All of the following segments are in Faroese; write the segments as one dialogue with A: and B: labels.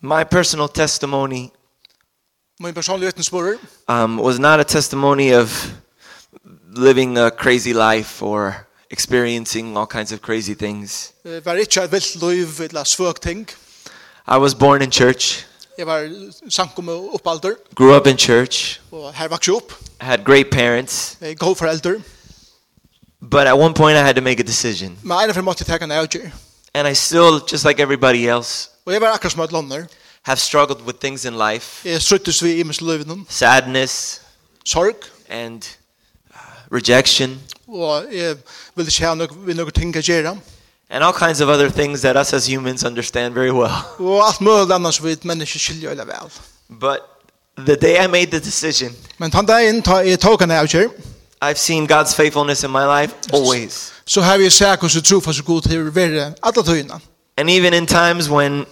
A: My personal testimony
B: Min personlige vitnesbyrd
A: um, was not a testimony of living a crazy life or experiencing all kinds of crazy things.
B: eh, var ikke et vilt liv eller svøk ting.
A: I was born in church,
B: Jeg var sankum og oppalder,
A: grew up in church,
B: og her vaks jeg opp.
A: had great parents,
B: Jeg er går foreldre.
A: but at one point I had to make a decision.
B: Men ene for måtte jeg teka nøyger.
A: And I still, just like everybody else,
B: Og jeg var akkurat som et lander.
A: have struggled with things in life
B: Jeg struttes vi i min liv.
A: sadness
B: Sorg.
A: and uh, rejection
B: Og jeg vil ikke ha noe, vi noe ting å gjøre.
A: and all kinds of other things that us as humans understand very well.
B: Og alt mulig annars vi et menneske skiljer eller vel.
A: But the day I made the decision,
B: Men tann dagen ta jeg tok en nøyger,
A: I've seen God's faithfulness in my life always.
B: så har vi sett hvordan trofast og god til å være alle tøyene.
A: And even in times when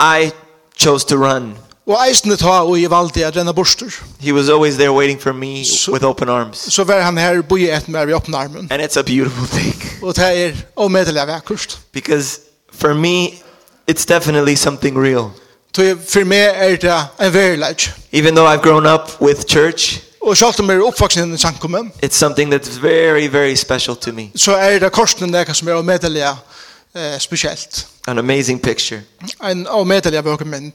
A: I chose to run,
B: Og eisene ta og jeg valgte å renne borster.
A: He was always there waiting for me
B: So-
A: with open arms.
B: Så var han her boje et med i åpne armen.
A: And it's a beautiful thing
B: Og det er omedelig vekkust.
A: because for me, it's definitely something real.
B: Så for meg er det en verilegg.
A: Even though I've grown up with church,
B: Og selv om jeg er oppvaksen i samkommet,
A: it's something that's very, very special to me.
B: så er det korsen det som er omedelig eh, spesielt.
A: An amazing picture.
B: En omedelig vøker mynd.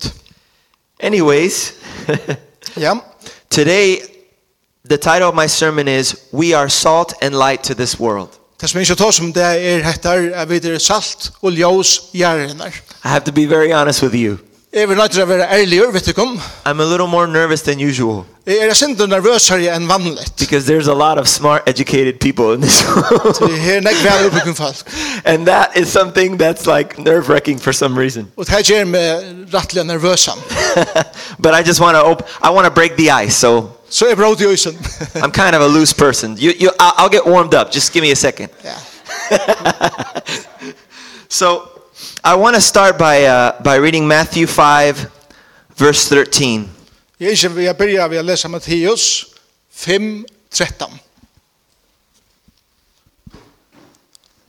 A: Anyways,
B: Ja.
A: today the title of my sermon is We Are Salt and Light to This World.
B: Det som jeg ikke tar som det er hettar er videre salt og ljós gjerrenar.
A: I have to be very honest with you.
B: Jeg vil nødt til å være ærlig, vet du kom.
A: I'm a little more nervous than usual
B: Jeg er sint og nervøsere enn vanligt.
A: because there's a lot of smart, educated people in this
B: Så
A: room.
B: jeg er nekk vel oppbyggende folk.
A: and that is something that's like nerve wracking for some reason.
B: Og det her gjør meg rettelig nervøsam.
A: but I just want to op- I want to break the ice. So
B: Så jeg bråd i øysen.
A: I'm kind of a loose person. You, you, I- I'll get warmed up. Just give me a second.
B: ja.
A: So I want to start by, uh, by reading Matthew 5, verse 13.
B: Jeg ønsker vi har begynt ved å lese Matteus 5, 13.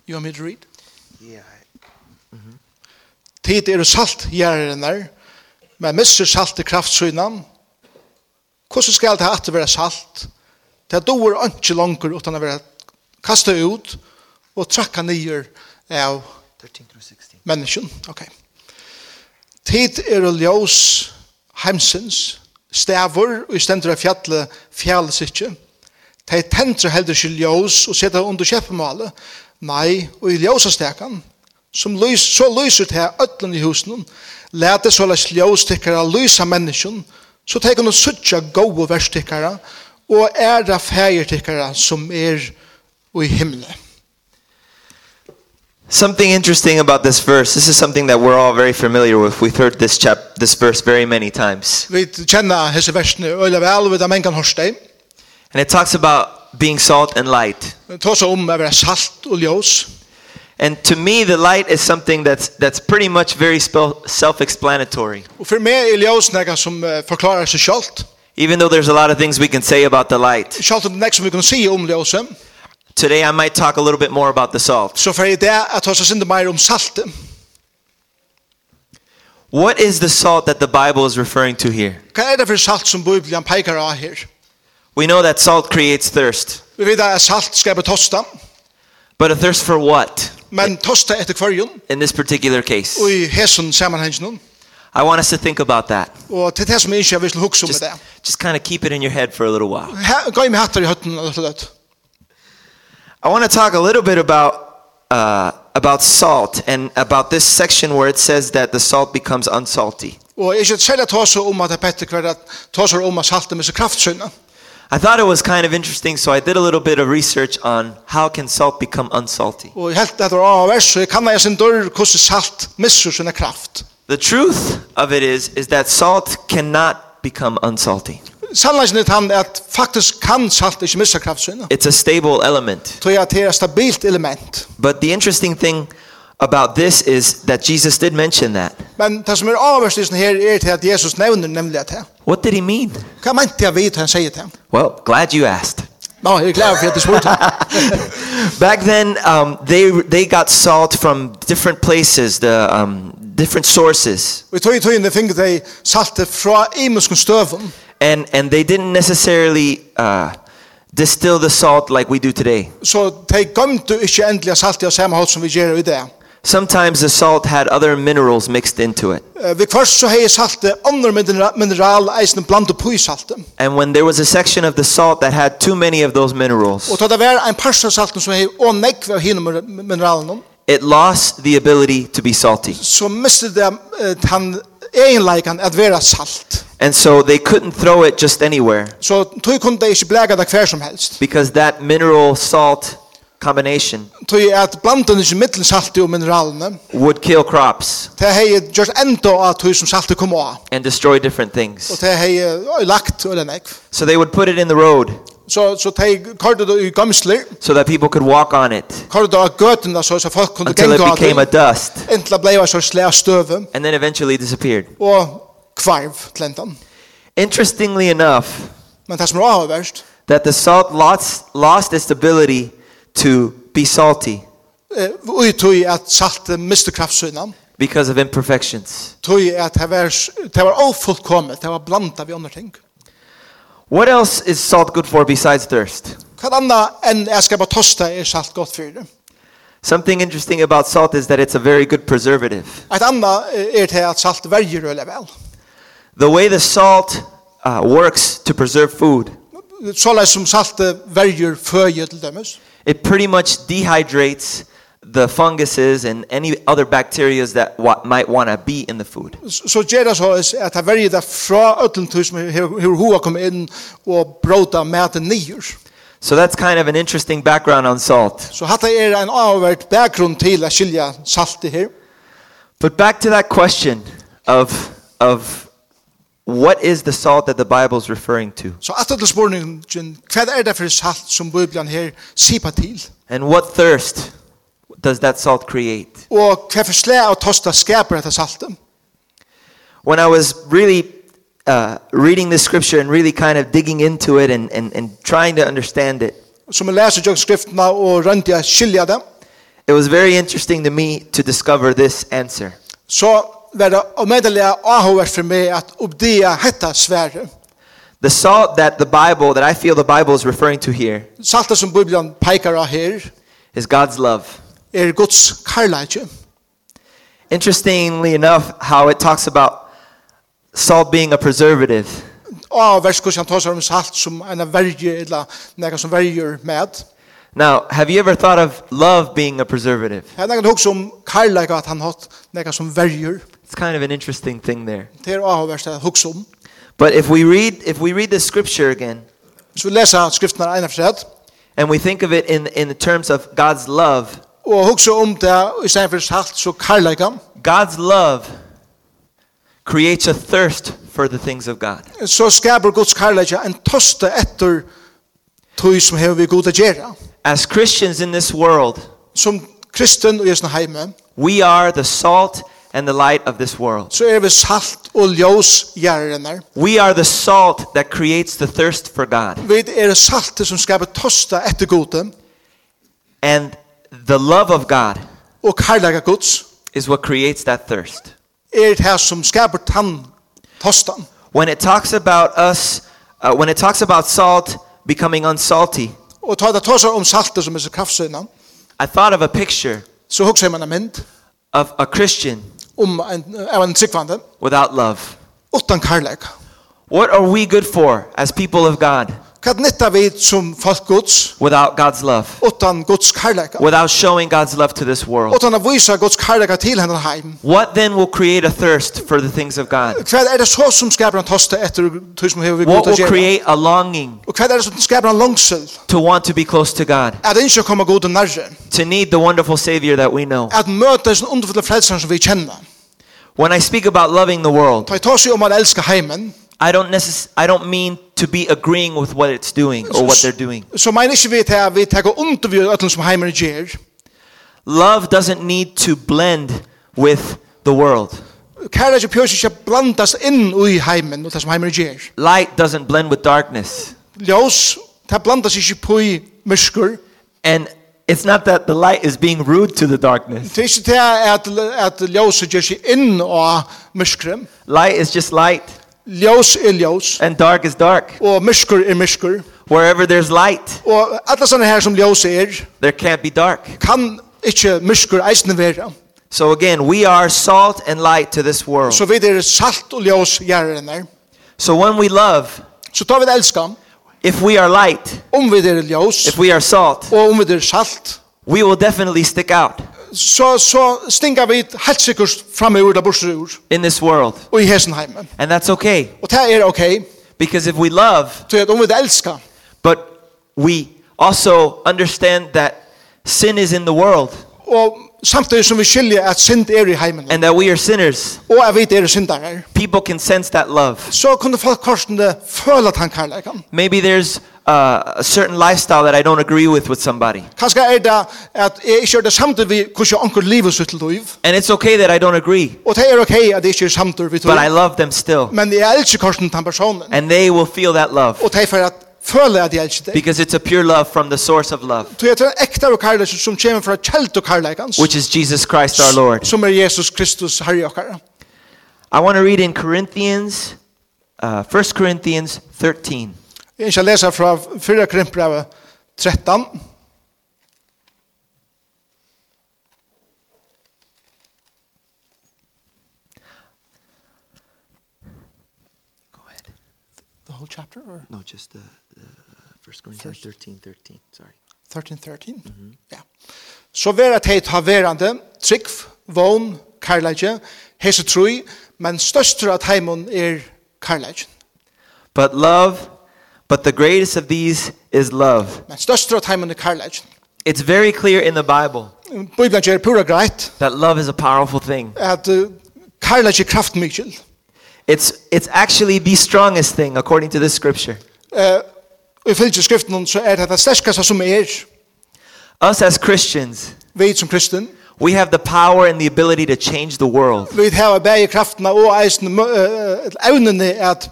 B: You want me to read?
A: Yeah.
B: Tid er salt gjerrenar, men misser salt i kraftsynan. Hvordan skal det at være salt? Det doer ikke langer utan å være kastet ut og trakka nyer av
A: 13 through 16.
B: menneskjen. Ok. Tid er ljós heimsins, stavur og i stendur av fjallet fjallet sikkje. De tendre heldur ikke ljós og seta under kjeppemalet, nei, og i ljósastekan, som lys, så lyser til öllun i husen, lete så lest ljóstikkara lysa menneskjen, så teker hun suttja gode verstikkara, og æra fægertikkara som er i himmelen.
A: Something interesting about this verse. This is something that we're all very familiar with. We've heard this chap this verse very many times.
B: Vi kjenner hese versene øyla vel, vi da mengan hos deg.
A: And it talks about being salt and light.
B: Ta seg om å være um salt og ljós.
A: And to me the light is something that's that's pretty much very spell, self-explanatory.
B: Og for meg er ljós nega som eh, forklarar seg sjálft.
A: Even though there's a lot of things we can say about the light.
B: Sjálft er nega som vi kan si om ljóset.
A: Today I might talk a little bit more about the salt.
B: Så for jeg det at ta seg sinde meir um om saltet.
A: What is the salt that the Bible is referring to here?
B: Hva er det for salt som Bibelen peikar av her?
A: We know that salt creates thirst.
B: Vi vet at salt skaper tosta,
A: But a thirst for what
B: men tosta etter kvarjon
A: in this particular case?
B: og i hesen samanhengen.
A: I want us to think about that.
B: Og til det som jeg ikke vil hugsa om
A: Just,
B: det.
A: just kind of keep it in your head for a little while.
B: Gå med hattar i høtten og løtt.
A: I want to talk a little bit about uh, about salt and about this section where it says that the salt becomes unsalty.
B: Og er jeg skal særlig ta seg om at det er Petter hver um at ta seg om at saltet med seg kraftsynet.
A: I thought it was kind of interesting, so I did a little bit of research on how can salt become unsalty.
B: Og jeg helt etter av vers, så jeg kan jeg sin dør hvordan salt misser sin kraft.
A: The truth of it is is that salt cannot become unsalty.
B: Sannleggen er han at faktisk kan salt ikke missa kraft sinne.
A: It's a stable element.
B: Tror jeg at det er et stabilt element.
A: But the interesting thing about this is that Jesus did mention that.
B: Men det som er avhørstelsen her er til at Jesus nevner nemlig at det.
A: What did he mean?
B: Hva mente jeg vidt han sier til?
A: Well, glad you asked.
B: Nå, jeg er glad for at jeg spurte.
A: Back then, um, they they got salt from different places. The um, different sources.
B: Og i tog i tøyene finner de saltet fra imenskens støven.
A: And, and they didn't necessarily uh, distill the salt like we do today.
B: Så de gømte ikke endelig saltet av samme hatt som vi gjør i det.
A: Sometimes the salt had other minerals mixed into it.
B: Eh, Vi kvart så hei saltet andre minera- mineral eisen blandet på i saltet.
A: And when there was a section of the salt that had too many of those
B: Og
A: minerals,
B: da det var en parst av salten som hei og nekve av hine mineral- mineralen,
A: it lost the ability to be salty.
B: så mistet de eh, han egenleikan at være salt.
A: And so they couldn't throw it just anywhere
B: Så tog kunne de ikke blega det hver som helst.
A: because that mineral salt combination
B: Tog er at blanden ikke mittelen saltet og mineralene,
A: would kill crops
B: det hei gjort enda av tog som saltet kom av.
A: and destroy different
B: Og
A: things.
B: det hei eh, lagt eller nekve.
A: So they would put it in the road
B: Så så tei kardu i gamsler,
A: so that people could walk on it
B: kardu av gøtuna så så folk kunde
A: until
B: ganga
A: it
B: av
A: became a
B: det.
A: dust
B: Entla blei var så slä støve
A: and then eventually disappeared.
B: og kvarv klentan.
A: Interestingly enough,
B: Men det som er avverst,
A: that the salt lost, lost its ability to be salty
B: eh, uitui at salt miste kraftsynan,
A: because of imperfections.
B: tui er at det var, det var ofullkommet, det var blanda vi andre ting.
A: What else is salt good for besides thirst?
B: Hva anna enn jeg skal bare tosta er salt godt for det.
A: Something interesting about salt is that it's a very good preservative.
B: Et anna eh, er til at salt verger eller vel.
A: The way the salt uh, works to preserve food,
B: Såleis som salt verger føje til dømes.
A: it pretty much dehydrates the funguses and any other bacteria that wa- might want to be in the food.
B: så så ger det så is at det verger det fra ötlen tur som hur hoa kom inn og bråta med det nyer.
A: So that's kind of an interesting background on salt.
B: Så hatta er en avvært bakgrunn til at skilja salt i her.
A: But back to that question of, of what is the salt that the Bible's referring to?
B: Så at til spurningen, hva er det for salt som Bibelen her sipa til?
A: And what thirst does that salt create?
B: Og hva for slæ av tosta skaper dette saltet?
A: When I was really uh, reading this scripture and really kind of digging into it and, and, and trying to understand it,
B: Som er jeg leser jo skriftene og rønte jeg skilja det,
A: it was very interesting to me to discover this answer.
B: så var det omedelig avhåvært for meg at oppdia hetta svære.
A: The salt that the Bible, that I feel the Bible is referring to here,
B: Saltet som Bibelen peikar av her
A: is God's love.
B: er Guds karlage.
A: Interestingly enough, how it talks about salt being a preservative.
B: Og vers hvordan han tar seg om um salt som en verje, eller noe som verjer med.
A: Now, have you ever thought of love being a preservative?
B: Jeg har også om karlæg at han hatt noe som verjer.
A: It's kind of an interesting thing there.
B: Det er også vers det jeg husker om.
A: But if we read if we read this scripture again
B: Så vi leser skriftene ene for seg.
A: and we think of it in in the terms of God's love,
B: Og um husker om det, i stedet for salt, så karlæg
A: God's love creates a thirst for the things of God.
B: Så skaper Guds karlæg en toste etter tog som har vi god å gjøre.
A: As Christians in this world,
B: Som kristen og jesne heime,
A: we are the salt and the light of this world.
B: så er vi salt og ljós gjerne.
A: We are the salt that creates the thirst for God.
B: Vi er saltet som skaper toste etter gode,
A: And the love of God
B: og karlæg Guds.
A: is what creates that thirst.
B: er det her som skaper tann tostan.
A: When it talks about us, uh, when it talks about salt becoming unsalty,
B: Og ta det tosar om saltet som er så kraftsøyna,
A: I thought of a picture
B: så hugsa man en mynd
A: of a Christian
B: om en, av en sikvande,
A: without love.
B: utan karlæg.
A: What are we good for as people of God
B: Hva nytta vi som folk Guds,
A: without God's love?
B: utan Guds karlæg?
A: Without showing God's love to this world?
B: Utan å vise Guds karlæg til henne heim.
A: What then will create a thirst for the things of God?
B: Hva er det så som skaper en tosta etter tog som hever vi
A: What
B: god å
A: will
B: gjøre?
A: create a longing
B: Og hva er det som skaper en langsel?
A: to want to be close to God,
B: At ikke komme god og nærre.
A: to need the wonderful Savior that we know?
B: At møte den underfulle frelseren som vi kjenner.
A: When I speak about loving the world,
B: Ta i tosig om at um elska heimen,
A: I don't necess- I don't mean to be agreeing with what it's doing or what they're doing.
B: så mener ikke vi til at vi tar under vi øtlen som heimen gjør.
A: Love doesn't need to blend with the world.
B: Kærleiki pjøs ikke blandast inn i heimen og det som heimen gjør.
A: Light doesn't blend with darkness.
B: Ljós, det blandast ikke på i myrskur,
A: And it's not that the light is being rude to the darkness.
B: Det er ikke det at, at ljøset gjør seg inn og myskere.
A: Light is just light,
B: Ljøs er ljøs,
A: and dark is dark.
B: og mysker er mysker.
A: Wherever there's light,
B: Og alle sånne her som ljøs er,
A: there can't be dark.
B: kan ikke mysker eisende være.
A: So again, we are salt and light to this world.
B: Så vi er salt og ljøs gjerne.
A: So when we love,
B: Så tar vi det elskam,
A: if we are light,
B: om vi er ljøs,
A: if we are salt,
B: og om vi er salt,
A: we will definitely stick out
B: så, så stinker vi helt sikkert fremover der bortser ur,
A: in this world.
B: og i hesenheimen.
A: And that's okay
B: Og det er ok,
A: because if we love,
B: til at om vi det elskar,
A: but we also understand that sin is in the world
B: og samtidig som vi skiljer at synd er i heimen,
A: and that we are sinners,
B: og at vi er syndere,
A: people can sense that love.
B: så kunne folk korsende føle at han kærleikan.
A: Maybe there's uh, a certain lifestyle that I don't agree with with somebody.
B: Kanskje er det at jeg ikke er det samtidig vi hvordan anker livet sitt liv,
A: And it's okay that I don't agree,
B: og det er ok at jeg ikke er samtidig vi
A: but I
B: tog,
A: love them still.
B: men jeg elsker korsende den personen,
A: And they will feel that love
B: og det er for at føle at jeg elsker det.
A: because it's a pure love from the source of love,
B: Så jeg tror ekte av kærleik som kommer fra kjelt og kærleikans,
A: which is Jesus Christ our Lord.
B: som er Jesus Kristus herre og herre.
A: I want to read in Corinthians, uh, 1 Corinthians 13.
B: Jeg skal lese fra 4 Korintbrevet 13.
A: Go ahead.
B: The whole chapter or
A: No, just uh, uh, 1 Corinthians 13, 13. Sorry.
B: 13:13?
A: Mm-hmm.
B: Ja. Så vera teit ha verande, trygg, vån, karlage, hese troi, men størstur at heimon er karlage.
A: But love, but the greatest of these is love.
B: Men størstur at heimon er karlage.
A: It's very clear in the Bible
B: Bibelen gjør pura greit
A: that love is a powerful thing.
B: at uh, karlage er kraftmykjel.
A: It's, it's actually the strongest thing according to this scripture.
B: Eh, Og i fylgje skriften så er det det sterskaste som er
A: Us as Christians,
B: vi som kristen.
A: we have the power and the ability to change the world.
B: Vi har bæg kraftene og eisen uh, evnene at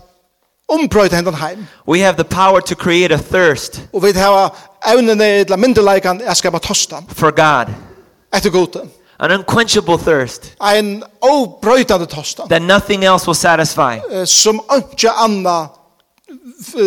B: ombrøyde hendan heim.
A: We have the power to create a thirst
B: Og vi har evnene til myndeleikan er skapa tosta
A: for God,
B: etter gode.
A: an unquenchable thirst
B: Ein obrøytande tosta
A: that nothing else will satisfy.
B: eh, som ikke anna eh,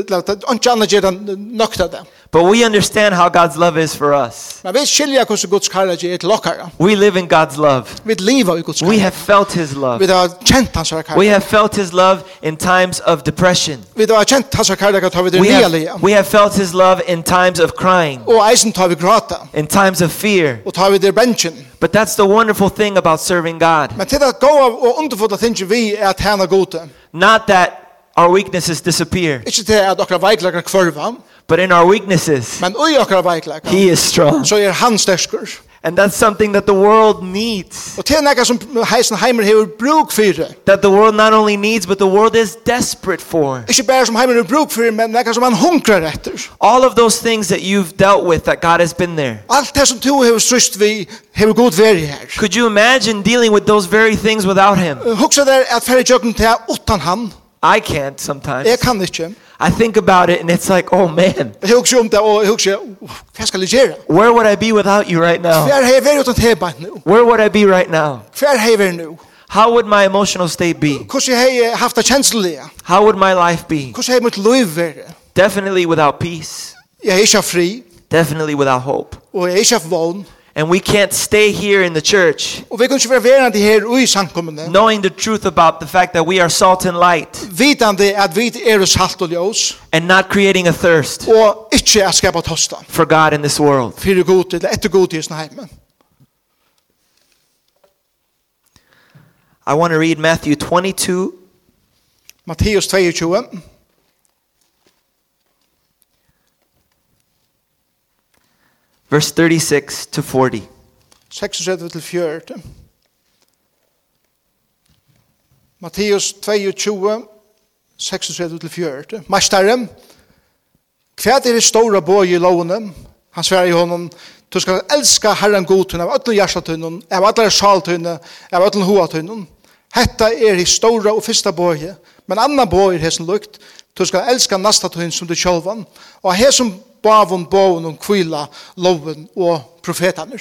B: ikke anna gjør den nøkta det.
A: But we understand how God's love is for us.
B: Men vi skilja hvordan Guds karlage er til okkara.
A: We live in God's love.
B: Vi lever i Guds
A: We
B: karlage.
A: have felt his
B: Vi
A: love.
B: har kjent hans
A: We
B: karlage.
A: have felt his love in times of depression.
B: Vi har kjent hans karlage tar vi det
A: We
B: nyalige.
A: have, we have felt his love in times of crying,
B: Og eisen tar vi grata.
A: in times of fear.
B: Og tar vi det bensin.
A: But that's the wonderful thing about serving God.
B: Men til det gode og underfulla tinge vi er at hana gode.
A: Not that our weaknesses disappear,
B: Ikke til at okkara veikleikar kvarva,
A: but in our weaknesses,
B: men ui okkara veikleikar.
A: he is strong.
B: Så er han sterskur.
A: And that's something that the world needs.
B: Og er til nekka som Heisenheimer hever bruk fyrir.
A: That the world not only needs, but the world is desperate for.
B: Ikke bare som Heimer hever bruk fyrir, men nekka som han hungrar etter.
A: All of those things that you've dealt with, that God has been there.
B: Alt det som du hever strust vi hever god veri her.
A: Could you imagine dealing with those very things without him?
B: Hugsa der at færre jøkken til utan han.
A: I can't sometimes.
B: Jeg kan ikke.
A: I think about it and it's like, oh man,
B: Jeg hugsa om det um og jeg hugsa, "Uff, hva skal jeg gjøre?
A: where would I be without you right now?
B: Hver har jeg vært utan tebeint nu?
A: Where would I be right now?
B: Hver har jeg vært nu?
A: How would my emotional state be?
B: Hvordan har jeg haft det kjenslige?
A: How would my life be?
B: Hvordan har jeg mitt liv vært?
A: Definitely without peace,
B: Jeg er ikke haft fri,
A: definitely without hope.
B: og jeg er ikke haft vogn.
A: And we can't stay here in the church
B: Og vi kan ikke være verande her ui samkommende.
A: knowing the truth about the fact that we are salt and light
B: vitande at vi er salt og ljós
A: and not creating a thirst
B: og ikkje at skapa tosta
A: for God in this world.
B: fyrir god eller etter god i sin heim.
A: I want to read Matthew 22
B: Matteus 22
A: verse 36 to 40.
B: 36 til 40 Matteus 22 36 til 40 Mastaren Hva er det store bøy i lovene? Han sverar i honom Du skal elska Herren god tunn av ötlen hjertatunn av ötlen sjaltunn av ötlen hoatunn Hetta er i stora og fyrsta bøy men anna bøy er hesen lukt Du skal elska nasta tunn som du sjálvan og hesen bavun boven om kvila, loven og profetaner.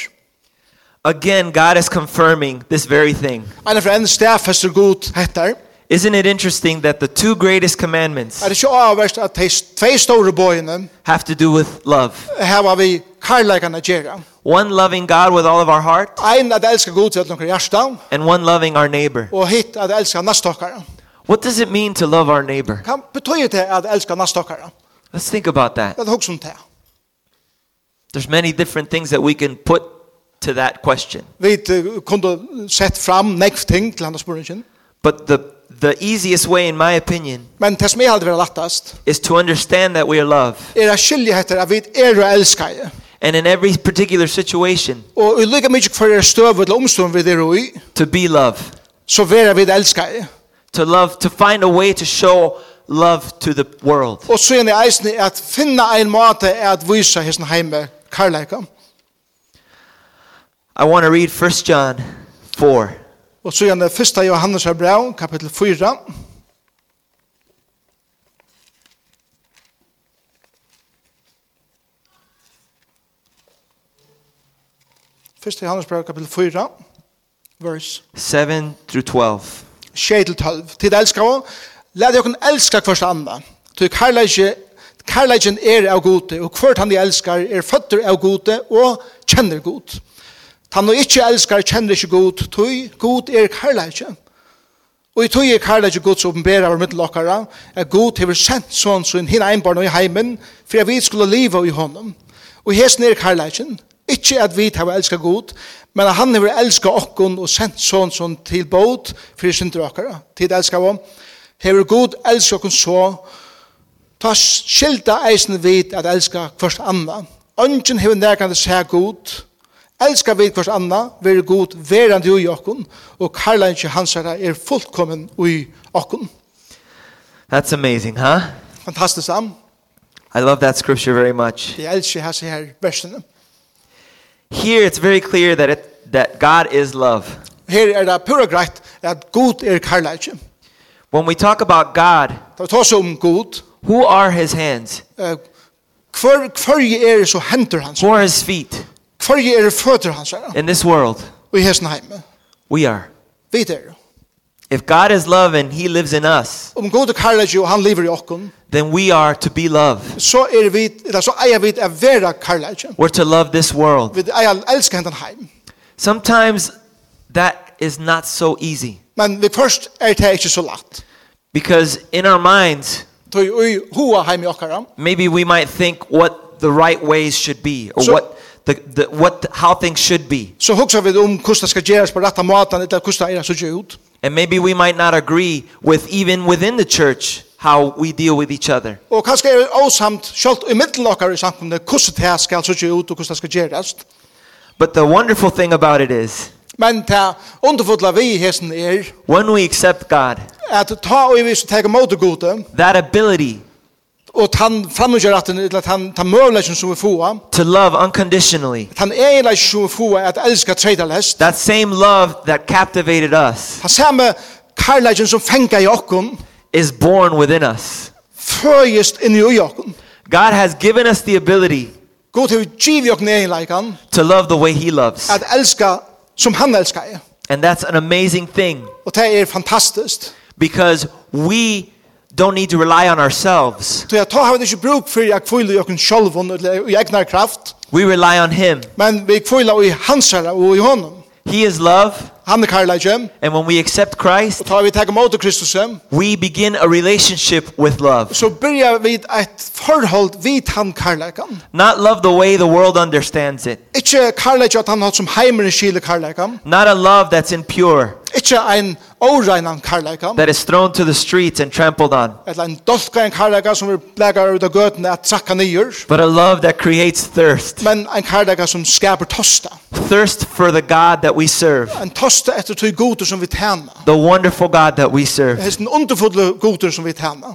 A: Again, God is confirming this very thing.
B: Ein av en stedfester god hettar,
A: Isn't it interesting that the two greatest commandments
B: er det ikke avverst at de tvei store bøyene
A: have to do with love?
B: heva vi karlægan at gjera.
A: One loving God with all of our heart,
B: Ein at elska god til at noen hjärsta,
A: and one loving our neighbor.
B: og hitt at elska nastokkara.
A: What does it mean to love our neighbor?
B: Kan betyr det at elska nastokkara?
A: Let's think about that.
B: Det er hoksom det.
A: There's many different things that we can put to that question.
B: Vi eh, kunde sett fram nekv ting til hans spørringen,
A: But the the easiest way in my opinion
B: men det som jeg aldri vera lattast,
A: is to understand that we are loved.
B: er at skilje heter at vi er og elska i.
A: And in every particular situation
B: Og i lika mykje for er støv eller omstånd vi er i,
A: to be love.
B: så vera vi elska i.
A: To love to find a way to show love to the world.
B: Og så er det eisen at finna ein måte er at vise hesten heime karlæka.
A: I want to read 1 John 4.
B: Og så er det første Johannes her brev, kapittel 4. Første Johannes brev, kapittel 4, vers
A: 7 through 12.
B: 6-12. Tid elskar hon. Læt jokken elska hverst anna. Tu karlægje Karlægjen er av gode, og hvert han de elskar er føtter av gode og kjenner god. Han og ikke elskar kjenner ikke god, tui god er karlægje. Og i tui er karlægje god som åpenbæra av middelokkara, er god hever sendt sånn som hinn einbarn og i heimen, for at vi skulle liva i honom. Og hesten er karlægjen, ikke at vi hever elskar god, men at han hever elskar okkon og sendt sånn som til båt, for i synder okkara. Tid elskar hon. Hever god elskar okkon så, Ta skilda eisen vid at elska kvart anna. Ongen hefur nærkande seg god. Elska vid kvart anna, veri god verandi ui okkun, og karlænsje hansara er fullkommen ui okkun.
A: That's amazing, huh?
B: Fantastisk am.
A: I love that scripture very much.
B: Jeg elsker hans her versene.
A: Here it's very clear that it, that God is love.
B: Her er det pura greit at god er karlænsje.
A: When we talk about God,
B: Da vi tar seg om god,
A: who are his hands?
B: um eh, hver, hverje er så hender hans,
A: Who are his feet
B: hverje er føtter hans her,
A: in this world?
B: og i hesten heime.
A: We are.
B: Vi der.
A: If God is love and he lives in us,
B: Om god er karlænsje og han lever i okkun,
A: then we are to be love.
B: så er vi, eller så eier vi å være karlæge.
A: We're to love this world.
B: Vi eier å elske hentan heim.
A: Sometimes that is not so easy
B: Men vi først er det ikke så lagt.
A: because in our minds,
B: Tøy ui hoa heim i okkara.
A: maybe we might think what the right ways should be or
B: So-
A: what the, the what how things should be.
B: Så hugsa vi om hvordan det skal gjøres på rette maten, eller hvordan det er så gjør ut.
A: And maybe we might not agree with even within the church how we deal with each other.
B: Og kanskje er det åsamt, selv i middelen okkara i samfunnet, hvordan det skal så gjør ut, og hvordan det skal gjøres.
A: But the wonderful thing about it is
B: Men det underfodla vi i hesten er,
A: when we accept God,
B: at ta og vi som tar imot det gode,
A: that ability
B: og tann framgjør at han tar møvleggen som vi får,
A: to love unconditionally,
B: han egentlig som vi får at elsker tredjelest,
A: that same love that captivated us
B: Han samme karlægen som fengar i okkun,
A: is born within us.
B: føyest inn i ui okkun.
A: God has given us the ability
B: God hefur giv i okkun eginleikan,
A: to love the way he loves.
B: at elska som han elskar i.
A: And that's an amazing thing
B: Og det er fantastiskt.
A: because we don't need to rely on ourselves.
B: Så jeg tar havet ikke bruk for jeg kvile i okkun sjolvun, eller i egnar kraft,
A: We rely on him.
B: men vi kvile i hans herre og i honom.
A: He is love,
B: Han er karlægen,
A: and when we accept Christ,
B: og tar vi teg imot Kristus,
A: we begin a relationship with love.
B: så byrjar vi et forhold vid han karlægen.
A: Not love the way the world understands it.
B: Ikke karlægen at han har som heimer i kile karlægen,
A: Not a love that's impure,
B: ikke ein åreinan karlægen,
A: that is thrown to the streets and trampled on,
B: Eller en dolka en karlaga som vi blegar ut av gøtene at trakka nyer,
A: but a love that creates thirst.
B: men en karlaga som skaper tosta.
A: Thirst for the God that we serve,
B: En tosta etter tog goder som vi tæna.
A: the wonderful God that we serve.
B: Hesten underfodle goder som vi tæna.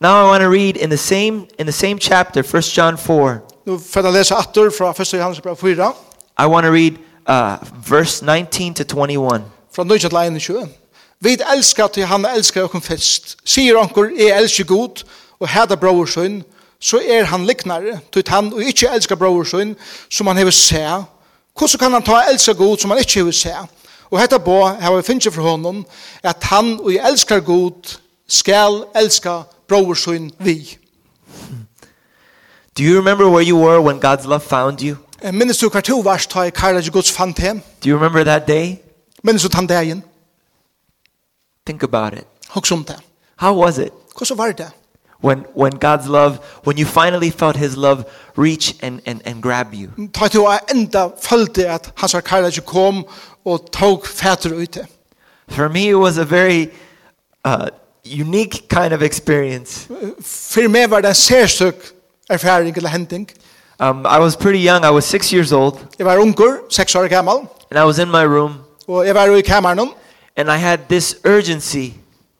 A: Now I want to read in the same in the same chapter, 1 John 4.
B: Nu får jeg lese atter fra 1. Johannes brev 4,
A: I want to read uh, verse 19 to 21.
B: fra 9 til 21. Vi elskar til han elskar okkur fyrst. Sier onkur, jeg elskar god, og hæda bror sønn, så er han liknare, tog han og ikkje elskar bror sin, som han hever se. Hvordan kan han ta elskar god som han ikkje hever se? Og hetta på, her vi finnes fra honom, at han og elskar god skal elska bror sin vi.
A: Do you remember where you were when God's love found you?
B: Eh, Minnes du hver to vers ta i karlaj gods fant hem?
A: Do you remember that day?
B: Minnes du tann dagen?
A: Think about it.
B: Hoks om det.
A: How was it?
B: Hvordan um var det?
A: When, when God's love, when you finally felt His love reach and, and, and grab you.
B: Ta til å enda følte at hans karlaj kom og tog fæter ute.
A: For me, it was a very uh, unique kind of experience.
B: For meg var det en særstøk erfaring eller hending.
A: Um, I was pretty young. I was six years old,
B: Jeg var unger, seks år gammal,
A: and I was in my room,
B: og jeg var jo i kameran,
A: and I had this urgency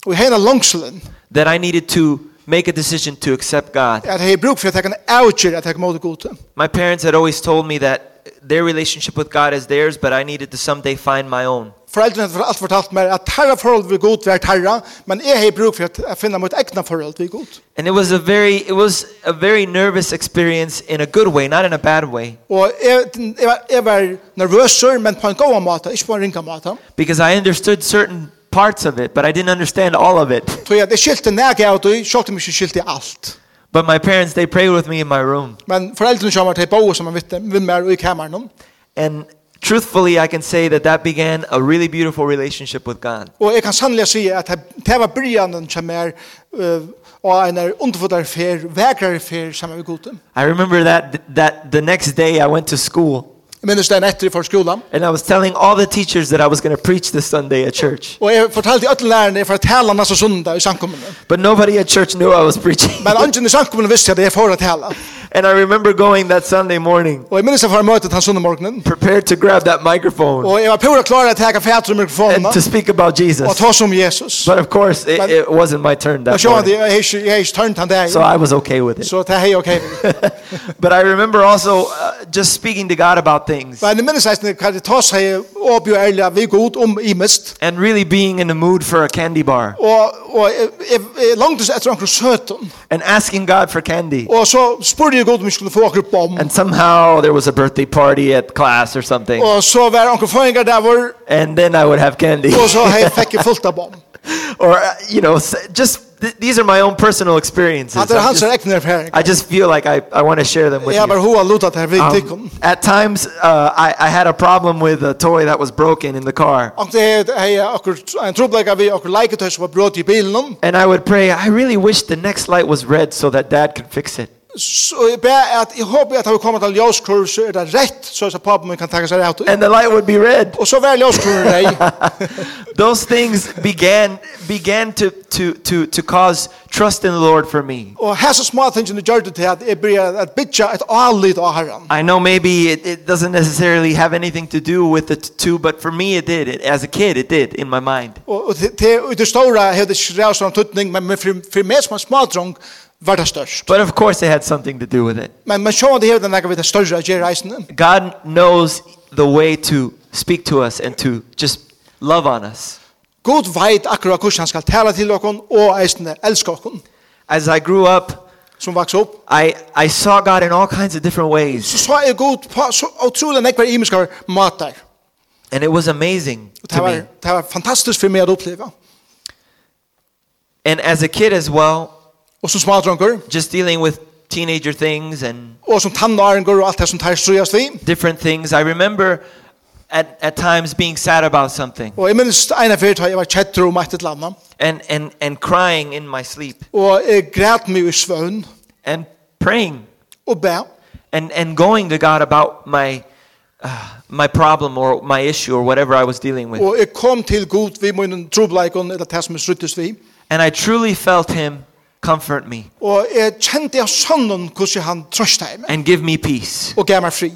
B: og jeg hei en langselen,
A: that I needed to make a decision to accept God.
B: at jeg hei bruk for at jeg kan avgjøre at jeg kan måte god til.
A: My parents had always told me that their relationship with God is theirs, but I needed to someday find my own.
B: Foreldrene hadde alt fortalt meg at herra forhold vi god vært herra, men jeg hei bruk for at jeg finner mot egna forhold vi god.
A: And it was a very it was a very nervous experience in a good way, not in a bad way,
B: Og jeg, jeg, var, jeg var nervøser, men på en god måte, ikke på en ringa måte.
A: because I understood certain parts of it, but I didn't understand all of it.
B: Så jeg, jeg skilte nægge av det, sjokte mye skilte alt.
A: But my parents they prayed with me in my room.
B: Men foreldrene kommer til bo som man vet, vi mer og i kameran.
A: And truthfully, I can say that that began a really beautiful relationship with God.
B: Og jeg kan sannelig si at det- det var brygjanden som er eh, og en er underfodder fer, vekrere fer sammen med goden.
A: I remember that that the next day I went to school
B: Jeg minnes det en etter for skolan.
A: and I was telling all the teachers that I was going to preach this Sunday at church.
B: Og jeg fortalte alle lærerne for at tala neste søndag i samkommene.
A: But nobody at church knew I was preaching.
B: Men ungen i samkommene visste at jeg får å tala.
A: and I remember going that Sunday morning
B: Og jeg minnes det for møtet han søndag morgenen.
A: prepared to grab that microphone
B: Og jeg var pura klar at jeg kan fætre
A: and
B: mikrofonen
A: to speak about
B: og
A: Jesus.
B: ta som Jesus.
A: But of course, it, it wasn't my turn
B: Og
A: that
B: så han det,
A: morning.
B: jeg har ikke- jeg har ikke tørnt han der.
A: So I was okay with it.
B: Så det er hei ok.
A: But I remember also uh, just speaking to God about things
B: Men jeg minnes det kan det ta seg og bli ærlig vi god om i mist.
A: and really being in the mood for a candy bar
B: Og, og eh, jeg, jeg, jeg langtes etter anker søten.
A: and asking God for candy.
B: Og så spurte jeg godt om jeg skulle få akkurat bom.
A: And somehow there was a birthday party at class or something.
B: Og så var anker føringer der var,
A: And then I would have candy.
B: og så hei, fikk jeg fullt av bom.
A: or, uh, you know, s- just th- these are my own personal experiences.
B: At det er
A: I'm
B: hans
A: just-
B: egne erfaring.
A: I just feel like I, I want to share them with
B: Jeg har bare
A: you.
B: hoa lutat her vidt tikkum.
A: Um, at times, uh, I, I had a problem with a toy that was broken in the car.
B: Og det er hei, akkurat en trobleik av vi akkurat leiketøy som var brått i bilen.
A: And I would pray, I really wish the next light was red so that dad could fix it.
B: Så jeg ber at, jeg håper at har vi kommet til ljøskur, så er det rett, så er det papen min kan takke seg rett.
A: And the light would be red.
B: Og så var ljøskur rei.
A: Those things began, began to, to, to, to cause trust in the Lord for me.
B: Og her så små tingene gjør det til at jeg blir at bytja et alit av herren.
A: I know maybe it, it doesn't necessarily have anything to do with the t- two, but for me it did. It, as a kid, it did in my mind.
B: Og, og til, til, og i det store har det ikke rævst noen tøtning, um men men for, for meg som en smadrong var det størst.
A: But of course, it had something to do with it.
B: Men man sjående her den er vi det større av reisende.
A: God knows the way to speak to us and to just love on us.
B: God veit akkurat hvordan han skal tale til okken og eisende elsker okken
A: As I grew up,
B: som vaks opp.
A: I, I saw God in all kinds of different ways,
B: Så så er God på så utrolig nekvar imiskar matar.
A: and it was amazing
B: Og det
A: to
B: var,
A: me.
B: det var fantastisk for meg å oppleve.
A: And as a kid as well,
B: Og som smadronger,
A: just dealing with teenager things and
B: og som tannaringer og alt det som tar strøyast vi.
A: different things, I remember at, at times being sad about something
B: Og jeg minnes en av fyrt jeg var kjetter og mættet landa.
A: and, and, and crying in my sleep
B: Og jeg græt meg i svøvn
A: and praying
B: og bæ.
A: and, and going to God about my, uh, my problem or my issue or whatever I was dealing with.
B: Og jeg kom til Gud vi min trobleikon, eller det som er struttes vi.
A: And I truly felt him comfort me
B: Og jeg kjente jeg sånn hvordan han trøste meg
A: and give me peace.
B: og gav meg fri.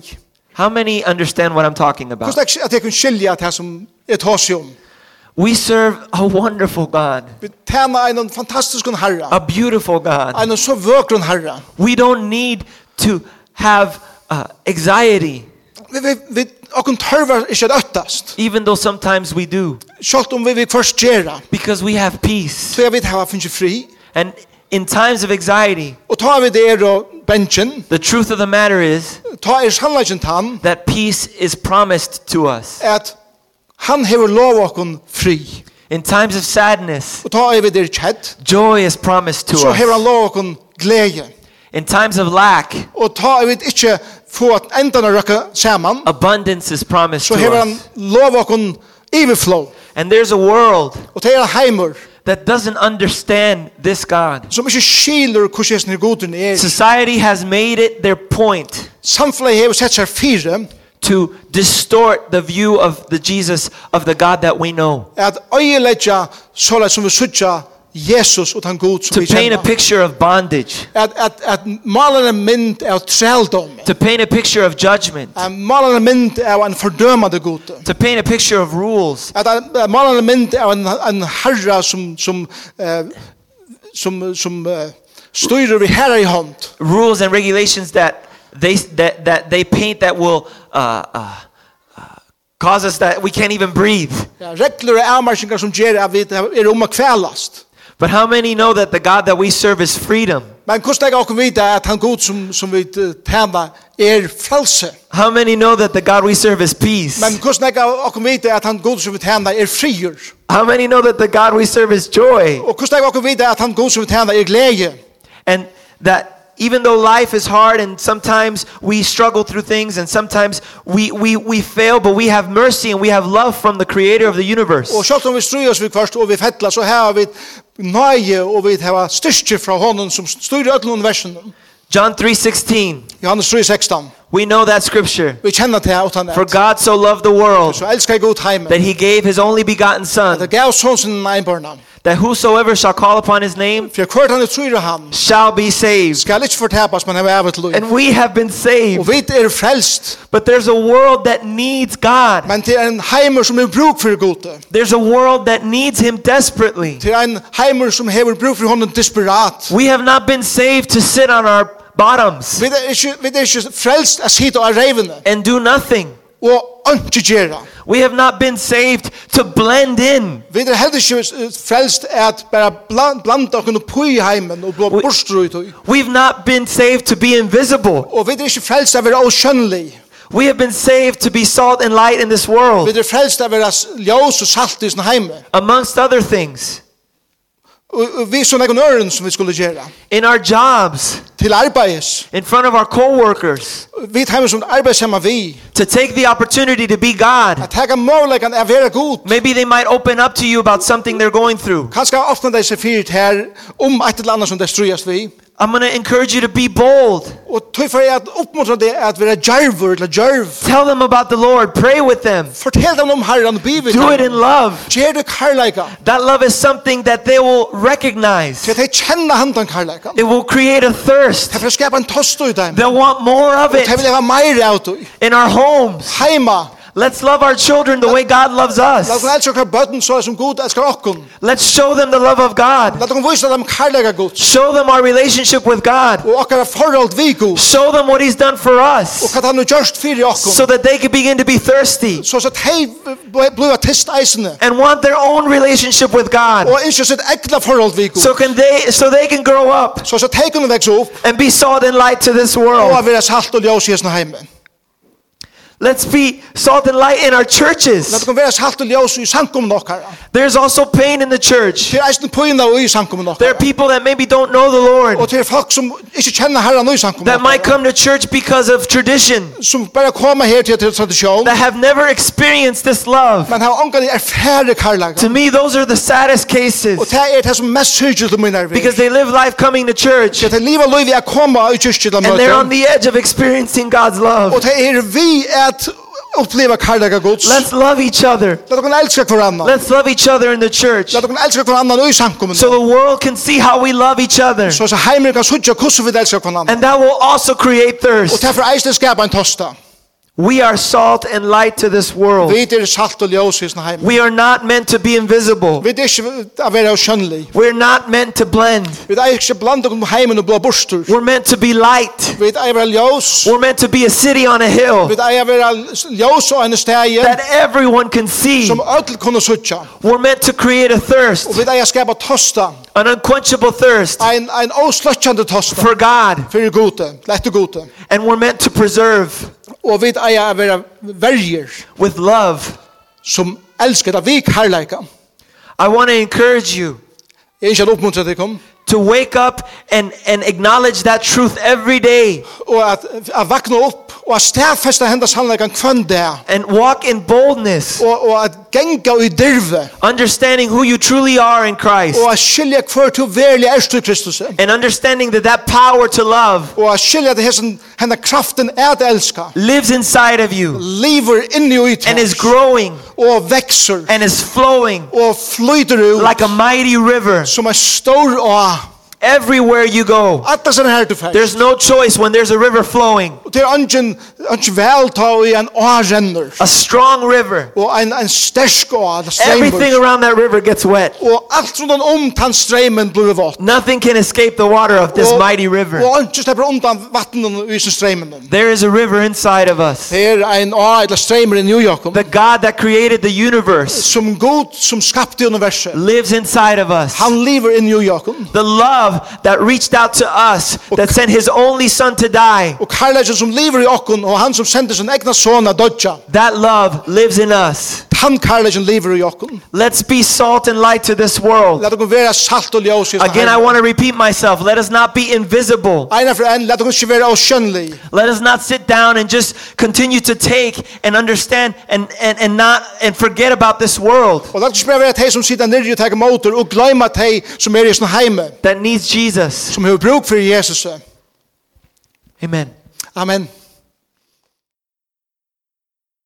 A: How many understand what I'm talking about?
B: Hvordan jeg, at jeg kunne skilja det som jeg tar seg om.
A: We serve a wonderful God,
B: Vi tjener en fantastisk herre,
A: a beautiful God.
B: en så vøkren herre.
A: We don't need to have uh, anxiety,
B: Vi, vi, vi, okken tørver ikke at um øttast,
A: even though sometimes we do,
B: selv om vi vil først gjøre.
A: because we have peace.
B: Så jeg vet her finnes jeg fri,
A: And in times of anxiety,
B: Og ta vi det er og bensin,
A: the truth of the matter is
B: ta er sannleggen tann,
A: that peace is promised to us.
B: at han hever lov okkon fri.
A: In times of sadness,
B: Og ta er vi det er kjedd,
A: joy is promised to
B: så hever han
A: us.
B: lov okkon glede.
A: In times of lack,
B: Og ta er vi det ikke få at endan å røkke saman,
A: abundance is promised
B: så
A: to
B: hever han
A: us.
B: lov okkon overflow.
A: And there's a world
B: Og ta er heimer,
A: that doesn't understand this God.
B: som ikke skiler hvordan hesten er godun er.
A: Society has made it their point
B: Samfunnet hever sett seg fire,
A: to distort the view of the Jesus of the God that we know.
B: Er at øyelegja såleis som vi sutja Jesus og den god som
A: To
B: vi
A: paint a
B: kjenner. Er
A: picture of bondage,
B: At, at, at malen en mynd er av trældom. Er
A: to paint a picture of judgment,
B: At malen en mynd er av en fordømande god. Er
A: to paint a picture of rules,
B: At, at, at malen en mynd er av en, en herra som, som, eh, som, som eh, styrer vi herra i hånd.
A: rules and regulations that they that that they paint that will uh, uh, uh, cause us that we can't even breathe.
B: Ja, regler og avmarsingar som gjør at vi er om å kvelast.
A: But how many know that the God that we serve is freedom?
B: Men hvordan jeg også vite at han god som, som vi eh, tæna er frelse.
A: How many know that the God we serve is peace?
B: Men hvordan jeg også vite at han god som vi tæna er frier.
A: How many know that the God we serve is joy?
B: Og hvordan jeg også vite at han god som vi tjener er glede.
A: And that even though life is hard and sometimes we struggle through things and sometimes we, we, we fail, but we have mercy and we have love from the creator of the
B: Og um
A: universe.
B: selv om vi strøy oss vi kvart og vi fettla, så her har vi nøye og vi har styrke fra hånden som styrer ødelen universen.
A: John 3.16,
B: Johannes 3, 16.
A: we know that scripture.
B: Vi kjenner til at han
A: For
B: er.
A: God so loved the world
B: Så elsker jeg god heimen.
A: that he gave his only begotten
B: Det
A: son,
B: gav sånn sin einbarna.
A: that whosoever shall call upon his name
B: For hvert han er trøyre han,
A: shall be saved.
B: skal ikke fortapas, men han er evet lov.
A: And we have been
B: Og
A: saved.
B: vi er frelst,
A: But there's a world that needs God.
B: men det er en heimer som er bruk for gode.
A: There's a world that needs him desperately.
B: Det er en heimer som hever bruk for hånden desperat.
A: We have not been saved to sit on our bottoms
B: Vi er ikke, vi er ikke frelst å sitte av reivene
A: and do nothing.
B: og ikke gjøre.
A: We have not been saved to blend in.
B: Vi er heller ikke eh, frelst at bare bland, blanda okken på i heimen og blå
A: Vi-
B: borstru i tog.
A: We've not been saved to be invisible.
B: Og vi er ikke frelst at være åskjønnelig.
A: We have been saved to be salt and light in this
B: Vi
A: world,
B: er frelst at være s- ljós og salt i sin heime.
A: amongst other things,
B: Og, og vi som egen øren som vi skulle gjøre.
A: in our jobs,
B: Til arbeids.
A: in front of our coworkers,
B: Vi heimer som arbeids hjemme vi.
A: to take the opportunity to be God.
B: At hega målegan er være god.
A: Maybe they might open up to you about something they're going through.
B: Kanskje ofte de ser fyrt her om et eller annet som det strøyast vi.
A: I'm going to encourage you to be bold.
B: Og tog for at oppmuntra det at være djerver eller djerv.
A: Tell them about the Lord, pray with them,
B: Fortell dem om herren og bivet.
A: do it in love.
B: Gjer du karlæga.
A: That love is something that they will recognize.
B: Til at jeg kjenner handan karlæga.
A: It will create a
B: Det
A: thirst.
B: får skapa en tost i dem.
A: They'll want more of
B: Det vil
A: it
B: ha meir av dem.
A: in our homes.
B: Heima.
A: Let's love our children the way God loves
B: Lat oss
A: us.
B: elska okkar bøtten så som god elskar okkum.
A: Let's show them the love of God.
B: Lat okkar vise dem karlæga god.
A: Show them our relationship with God.
B: Og okkar forhold vi god.
A: Show them what He's done for
B: Og
A: us
B: hva han har gjort fyrir okkum.
A: so that they can begin to be thirsty
B: Så at hei blua tist eisene.
A: and want their own relationship with God.
B: Og ikke sitt egna forhold vi god.
A: So can they so they can grow up
B: Så at hei kunne vekse opp.
A: and be salt and light to this
B: Og at
A: world.
B: vi er salt og ljós i hesten heime.
A: Let's be salt and light in our
B: Lat
A: churches.
B: okkar være salt og ljós i sankummen okkar.
A: There's also pain in the church.
B: Til eisen pøyna og i sankummen
A: There are
B: okkar.
A: people that maybe don't know the
B: Og
A: Lord
B: til folk som ikke kjenner herren og i sankummen
A: that might come to church because of tradition
B: Som bare kommer her til til tradisjon.
A: that have never experienced this love.
B: Men har ongan erfære karlaga.
A: To me, those are the saddest
B: Og
A: cases
B: det er det som mest syrgjel til min ervig.
A: because they live life coming to church
B: Det er livet liv jeg kommer i kyrkje til
A: and they're on
B: møte.
A: the edge of experiencing God's
B: Og
A: love.
B: det er vi at oppleva karlaga gods.
A: Let's love each other.
B: Lad okken elska hverandre.
A: Let's love each other in the church
B: Lad okken elska hverandre og i samkommun.
A: so the world can see how we love each other.
B: Så så heimer kan sutja hvordan vi elska hverandre.
A: And that will also create
B: Og
A: thirst.
B: det er for eisen skapa en tosta.
A: We are salt and light to this world.
B: Vi er salt og ljós i sin heim.
A: We are not meant to be invisible.
B: Vi er ikke å være skjønnelig.
A: We're not meant to blend.
B: Vi er ikke blant om heimen og blå borster.
A: We're meant to be light.
B: Vi er å være ljós.
A: We're meant to be a city on a hill
B: Vi er å være ljós og en steg
A: that everyone can see.
B: som ødel kunne suttja.
A: We're meant to create a
B: Og
A: thirst,
B: vi er å skapa tosta.
A: an unquenchable thirst
B: Ein, ein avsløttjande tosta.
A: for God,
B: Fyrir gode, lette gode.
A: and we're meant to preserve
B: Og vi er å være verger
A: with love.
B: som elsker det vi kærleika.
A: I want to encourage you
B: Jeg er ikke å oppmuntra deg om.
A: to wake up and, and acknowledge that truth every day
B: Og at, at vakna opp og at stedfesta henda sannleikan kvann det.
A: and walk in boldness,
B: Og, og at genga i dirve.
A: understanding who you truly are in Christ
B: og at skilja hver til verlig erstu Kristus
A: and understanding that that power to love
B: og at skilja til hessen hennar kraften er at elska
A: lives inside of you
B: lever inni og
A: and is
B: ut
A: growing
B: og vekser
A: and is flowing
B: og flyter
A: like
B: ut
A: a mighty river
B: som er stor og
A: everywhere you go.
B: atta sin er her til fær
A: There's no choice when there's a river flowing,
B: og det er ungen ungen velta og en å renner
A: a strong river.
B: og en, en stersk å eller
A: Everything
B: streimur
A: around that river gets wet.
B: og um alt rundt om tan streimen blir vått
A: Nothing can escape the water of this
B: Og-
A: mighty river.
B: og ungen slipper undan vattnen og isen streimen
A: There is a river inside of us.
B: det er en å eller streimur i New York
A: The God that created the universe
B: som god som skapte universet
A: lives inside of us.
B: han lever i New York
A: The love that reached out to us, that sent his only son to die,
B: Og kærleiken som lever i okkun og han som sender sin egna son av dodja.
A: that love lives in us.
B: Han kærleiken lever i okkun.
A: Let's be salt and light to this world.
B: Lat okkum vera salt og ljós i
A: Again, I want to repeat myself. Let us not be invisible.
B: Einar for enn, lat okkum ikke vera avskjønnlig.
A: Let us not sit down and just continue to take and understand and, and, and not and forget about this world
B: Og lat okkum ikke bare vera teg som sitter nirri og teker motor og gløyma teg som er i sin heime,
A: that needs Jesus.
B: som hefur bruk for Jesus.
A: Amen.
B: Amen.